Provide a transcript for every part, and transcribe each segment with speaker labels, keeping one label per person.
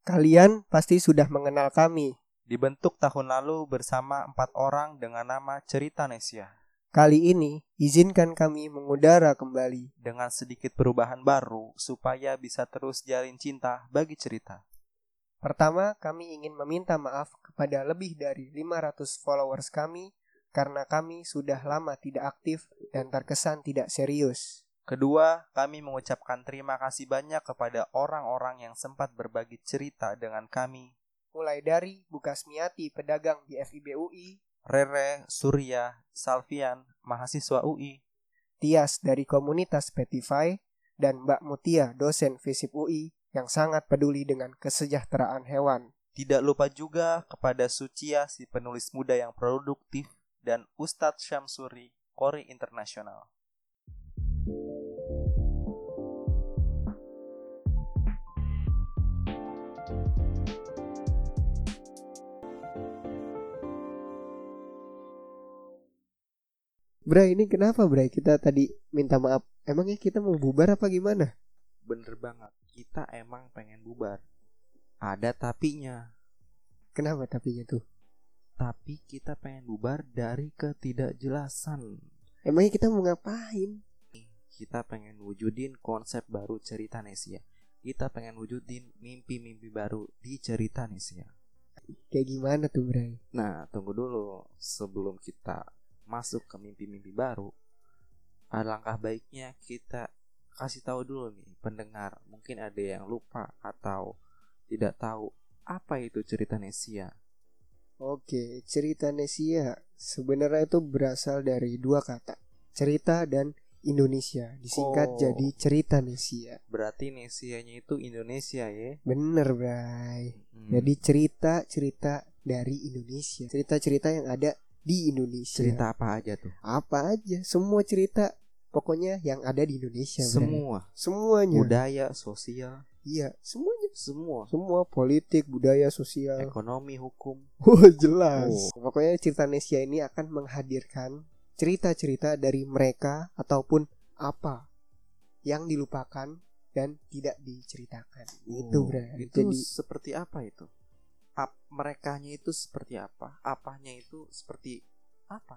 Speaker 1: Kalian pasti sudah mengenal kami.
Speaker 2: Dibentuk tahun lalu bersama empat orang dengan nama Cerita Nesia.
Speaker 1: Kali ini, izinkan kami mengudara kembali.
Speaker 2: Dengan sedikit perubahan baru supaya bisa terus jalin cinta bagi cerita.
Speaker 1: Pertama, kami ingin meminta maaf kepada lebih dari 500 followers kami karena kami sudah lama tidak aktif dan terkesan tidak serius.
Speaker 2: Kedua, kami mengucapkan terima kasih banyak kepada orang-orang yang sempat berbagi cerita dengan kami.
Speaker 1: Mulai dari Bukasmiati, pedagang di FIB UI,
Speaker 2: Rere, Surya, Salvian, mahasiswa UI,
Speaker 1: Tias dari komunitas Petify, dan Mbak Mutia, dosen FISIP UI, yang sangat peduli dengan kesejahteraan hewan.
Speaker 2: Tidak lupa juga kepada Sucia si penulis muda yang produktif dan Ustadz Syamsuri, Kori Internasional.
Speaker 1: Bray, ini kenapa Bray? Kita tadi minta maaf. Emangnya kita mau bubar apa gimana?
Speaker 2: Bener banget, kita emang pengen bubar. Ada tapinya,
Speaker 1: Kenapa tapinya tuh?
Speaker 2: tapi kita pengen bubar dari ketidakjelasan.
Speaker 1: Emangnya kita mau ngapain?
Speaker 2: Kita pengen wujudin konsep baru cerita Nesia. Kita pengen wujudin mimpi-mimpi baru di cerita Nesia.
Speaker 1: Kayak gimana tuh Bray?
Speaker 2: Nah, tunggu dulu. Sebelum kita masuk ke mimpi-mimpi baru, alangkah baiknya kita kasih tahu dulu nih pendengar. Mungkin ada yang lupa atau tidak tahu apa itu cerita Nesia.
Speaker 1: Oke, cerita Nesia sebenarnya itu berasal dari dua kata, cerita dan Indonesia, disingkat
Speaker 2: Oh.
Speaker 1: jadi cerita Nesia.
Speaker 2: Berarti Nesianya itu Indonesia ya.
Speaker 1: Bener, Bray.
Speaker 2: Hmm.
Speaker 1: Jadi cerita-cerita dari Indonesia, cerita-cerita yang ada di Indonesia.
Speaker 2: cerita apa aja tuh?
Speaker 1: apa aja, semua cerita pokoknya yang ada di Indonesia, Bray.
Speaker 2: Semua,
Speaker 1: semuanya.
Speaker 2: budaya, sosial,
Speaker 1: Iya, semuanya.
Speaker 2: semua,
Speaker 1: Semua politik, budaya, sosial.
Speaker 2: ekonomi, hukum.
Speaker 1: Oh, jelas.
Speaker 2: Eh. Oh.
Speaker 1: Pokoknya cerita Nesia ini akan menghadirkan cerita-cerita dari mereka ataupun apa yang dilupakan dan tidak diceritakan. Itu,
Speaker 2: Oh,
Speaker 1: Bray.
Speaker 2: Itu
Speaker 1: Jadi
Speaker 2: seperti apa itu? Ap, merekanya itu seperti apa? Apanya itu seperti apa?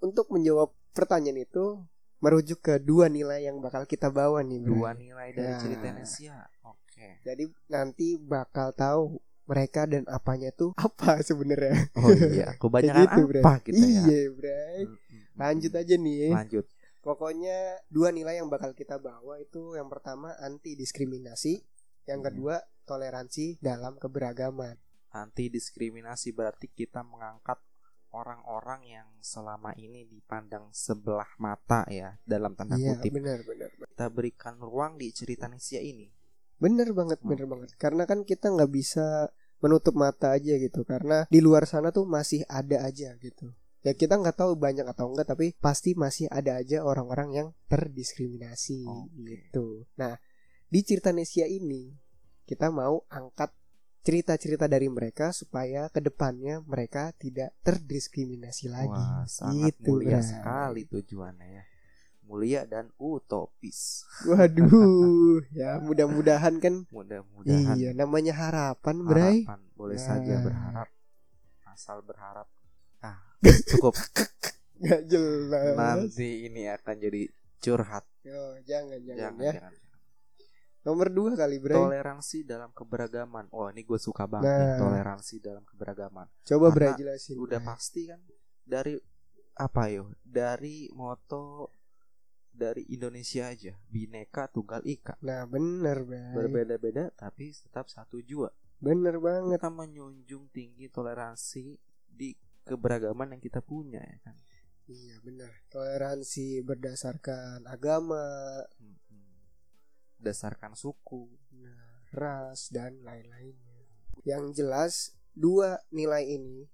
Speaker 1: untuk menjawab pertanyaan itu merujuk ke dua nilai yang bakal kita bawa nih, Bray.
Speaker 2: Dua nilai dari
Speaker 1: Nah.
Speaker 2: cerita Indonesia. Oke.
Speaker 1: Jadi nanti bakal tahu mereka dan apanya tuh apa sebenarnya.
Speaker 2: Oh iya, kebanyakan
Speaker 1: Kayak gitu, Bray.
Speaker 2: apa kita ya?
Speaker 1: Iya, Bray.
Speaker 2: hmm.
Speaker 1: Lanjut aja ya. nih.
Speaker 2: Lanjut.
Speaker 1: Pokoknya dua nilai yang bakal kita bawa itu yang pertama anti diskriminasi, yang
Speaker 2: Hmm.
Speaker 1: kedua toleransi dalam keberagaman.
Speaker 2: Anti diskriminasi berarti kita mengangkat orang-orang yang selama ini dipandang sebelah mata ya dalam tanda
Speaker 1: Iya,
Speaker 2: kutip.
Speaker 1: benar benar.
Speaker 2: Kita berikan ruang di cerita Indonesia ini.
Speaker 1: Benar banget, benar banget. Karena kan kita nggak bisa menutup mata aja gitu karena di luar sana tuh masih ada aja gitu. Ya kita nggak tahu banyak atau enggak tapi pasti masih ada aja orang-orang yang terdiskriminasi
Speaker 2: Oke.
Speaker 1: gitu. Nah, di cerita Nesia ini kita mau angkat cerita-cerita dari mereka supaya kedepannya mereka tidak terdiskriminasi lagi.
Speaker 2: Wah, sangat
Speaker 1: Gitu,
Speaker 2: mulia
Speaker 1: Bray.
Speaker 2: sekali tujuannya ya. Mulia dan utopis.
Speaker 1: Waduh, ya mudah-mudahan kan
Speaker 2: Mudah-mudahan
Speaker 1: iya namanya harapan, Bray.
Speaker 2: harapan boleh saja
Speaker 1: Nah.
Speaker 2: berharap. Asal berharap. Ah, cukup.
Speaker 1: Gak jelas.
Speaker 2: Nanti ini akan jadi curhat.
Speaker 1: Oh, jangan, jangan,
Speaker 2: Jangan,
Speaker 1: ya.
Speaker 2: jangan.
Speaker 1: Nomor dua kali, Bray.
Speaker 2: Toleransi dalam keberagaman. Oh, ini gue suka banget nih,
Speaker 1: Nah.
Speaker 2: toleransi dalam keberagaman.
Speaker 1: Coba
Speaker 2: Karena
Speaker 1: Bray jelasin.
Speaker 2: Udah
Speaker 1: Bray.
Speaker 2: pasti kan dari apa yo? Dari moto dari Indonesia aja, Bineka Tunggal Ika.
Speaker 1: Nah, bener, Bray.
Speaker 2: Berbeda-beda tapi tetap satu jua.
Speaker 1: Bener banget.
Speaker 2: Kita menjunjung tinggi toleransi di keberagaman yang kita punya ya kan.
Speaker 1: Iya, bener. Toleransi berdasarkan agama,
Speaker 2: Mm-mm. Hmm. Dasarkan suku.
Speaker 1: nah, ras, dan lain-lainnya. Yang jelas, dua nilai ini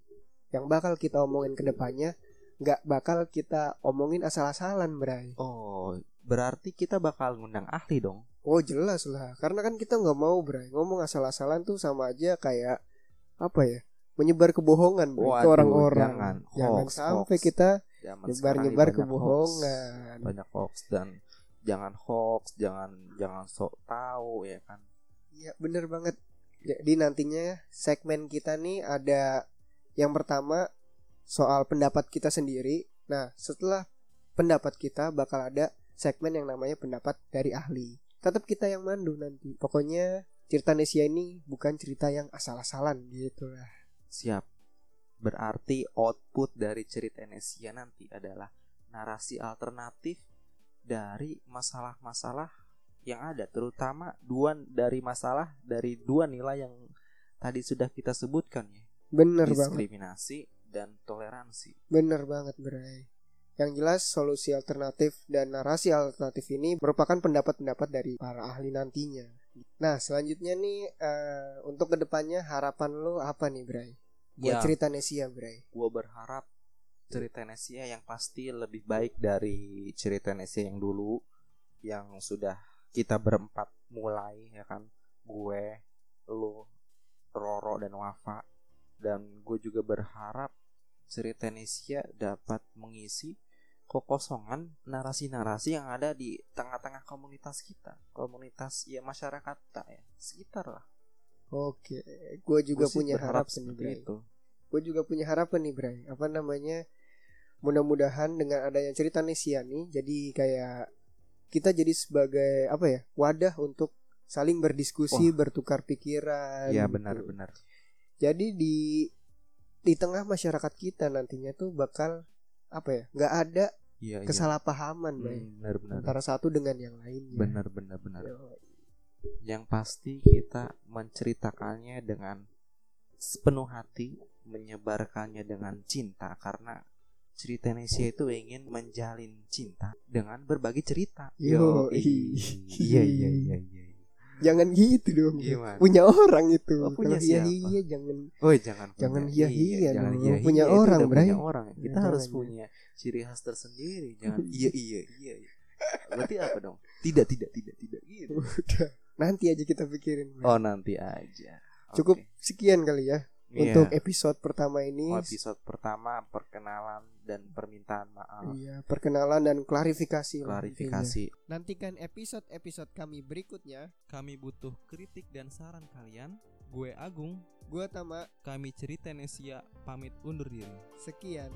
Speaker 1: yang bakal kita omongin ke depannya nggak bakal kita omongin asal-asalan, Bray.
Speaker 2: Oh, berarti kita bakal ngundang ahli dong.
Speaker 1: Oh jelas lah, karena kan kita nggak mau Bray ngomong asal-asalan tuh sama aja kayak apa ya menyebar kebohongan Bray, ke
Speaker 2: Waduh,
Speaker 1: orang-orang.
Speaker 2: jangan.
Speaker 1: Jangan
Speaker 2: Hoax,
Speaker 1: sampai
Speaker 2: hoax.
Speaker 1: kita
Speaker 2: Zaman sekarang ini
Speaker 1: nyebar-nyebar
Speaker 2: banyak hoax.
Speaker 1: kebohongan.
Speaker 2: banyak hoax dan jangan hoax jangan jangan sok tahu ya kan
Speaker 1: Iya bener banget. Jadi nantinya segmen kita nih ada yang pertama soal pendapat kita sendiri. Nah, setelah pendapat kita bakal ada segmen yang namanya pendapat dari ahli. Tetap kita yang mandu nanti. Pokoknya cerita Nesia ini bukan cerita yang asal-asalan gitu lah.
Speaker 2: Siap. Berarti output dari cerita Nesia nanti adalah narasi alternatif dari masalah-masalah yang ada, terutama dua dari masalah dari dua nilai yang tadi sudah kita sebutkan ya,
Speaker 1: Bener banget.
Speaker 2: diskriminasi dan toleransi.
Speaker 1: Bener banget Bray Yang jelas solusi alternatif dan narasi alternatif ini merupakan pendapat-pendapat dari para ahli nantinya Nah selanjutnya nih eh, untuk kedepannya harapan lo apa nih Bray? Buat
Speaker 2: Ya.
Speaker 1: cerita Nesia Bray
Speaker 2: Gue berharap cerita Nesia yang pasti lebih baik dari cerita Nesia yang dulu yang sudah kita berempat mulai ya kan gue lo Roro dan Wafa dan gue juga berharap cerita Nesia dapat mengisi kekosongan narasi-narasi yang ada di tengah-tengah komunitas kita komunitas ya masyarakat kita ya sekitar lah
Speaker 1: Oke Gue juga ya.
Speaker 2: Gua sih
Speaker 1: punya harapan nih
Speaker 2: berharap seperti
Speaker 1: Bray
Speaker 2: itu
Speaker 1: Gue juga punya harapan nih Bray Apa namanya Mudah-mudahan dengan adanya cerita Nesia nih Jadi kayak kita jadi sebagai apa ya wadah untuk saling berdiskusi bertukar pikiran
Speaker 2: ya
Speaker 1: gitu.
Speaker 2: benar-benar
Speaker 1: jadi di di tengah masyarakat kita nantinya tuh bakal apa ya nggak ada
Speaker 2: iya iya
Speaker 1: kesalahpahaman Bray,
Speaker 2: Hmm, benar-benar
Speaker 1: antara satu dengan yang lainnya
Speaker 2: benar benar benar
Speaker 1: Yo,
Speaker 2: yang pasti kita menceritakannya dengan sepenuh hati menyebarkannya dengan cinta karena cerita Indonesia itu ingin menjalin cinta dengan berbagi cerita
Speaker 1: Yo,
Speaker 2: Yoi.
Speaker 1: i-
Speaker 2: iya iya iya iya
Speaker 1: jangan gitu dong Bray.
Speaker 2: gimana
Speaker 1: punya orang itu
Speaker 2: Iya, Oh, punya
Speaker 1: Kalau iya
Speaker 2: siapa?
Speaker 1: iya jangan
Speaker 2: oh jangan punya.
Speaker 1: Jangan hiyah-hiyah
Speaker 2: Iya, jangan
Speaker 1: dong.
Speaker 2: hiyah-hiyah,
Speaker 1: Punya
Speaker 2: itu
Speaker 1: orang, Bray.
Speaker 2: udah
Speaker 1: ya.
Speaker 2: punya orang kita
Speaker 1: Jangan.
Speaker 2: harus punya ciri khas tersendiri jangan iya iya iya iya. berarti apa dong tidak tidak tidak tidak gitu
Speaker 1: udah nanti aja kita pikirin Bray.
Speaker 2: oh nanti aja
Speaker 1: cukup
Speaker 2: Oke.
Speaker 1: sekian kali ya
Speaker 2: Iya. Oh,
Speaker 1: untuk episode pertama ini
Speaker 2: episode pertama perkenalan dan permintaan maaf
Speaker 1: Iya, perkenalan dan klarifikasi lah intinya.
Speaker 2: klarifikasi
Speaker 1: nantikan episode-episode kami berikutnya
Speaker 3: Kami butuh kritik dan saran kalian. Gue Agung,
Speaker 1: gue Tama
Speaker 3: kami cerita Nesia pamit undur diri.
Speaker 1: sekian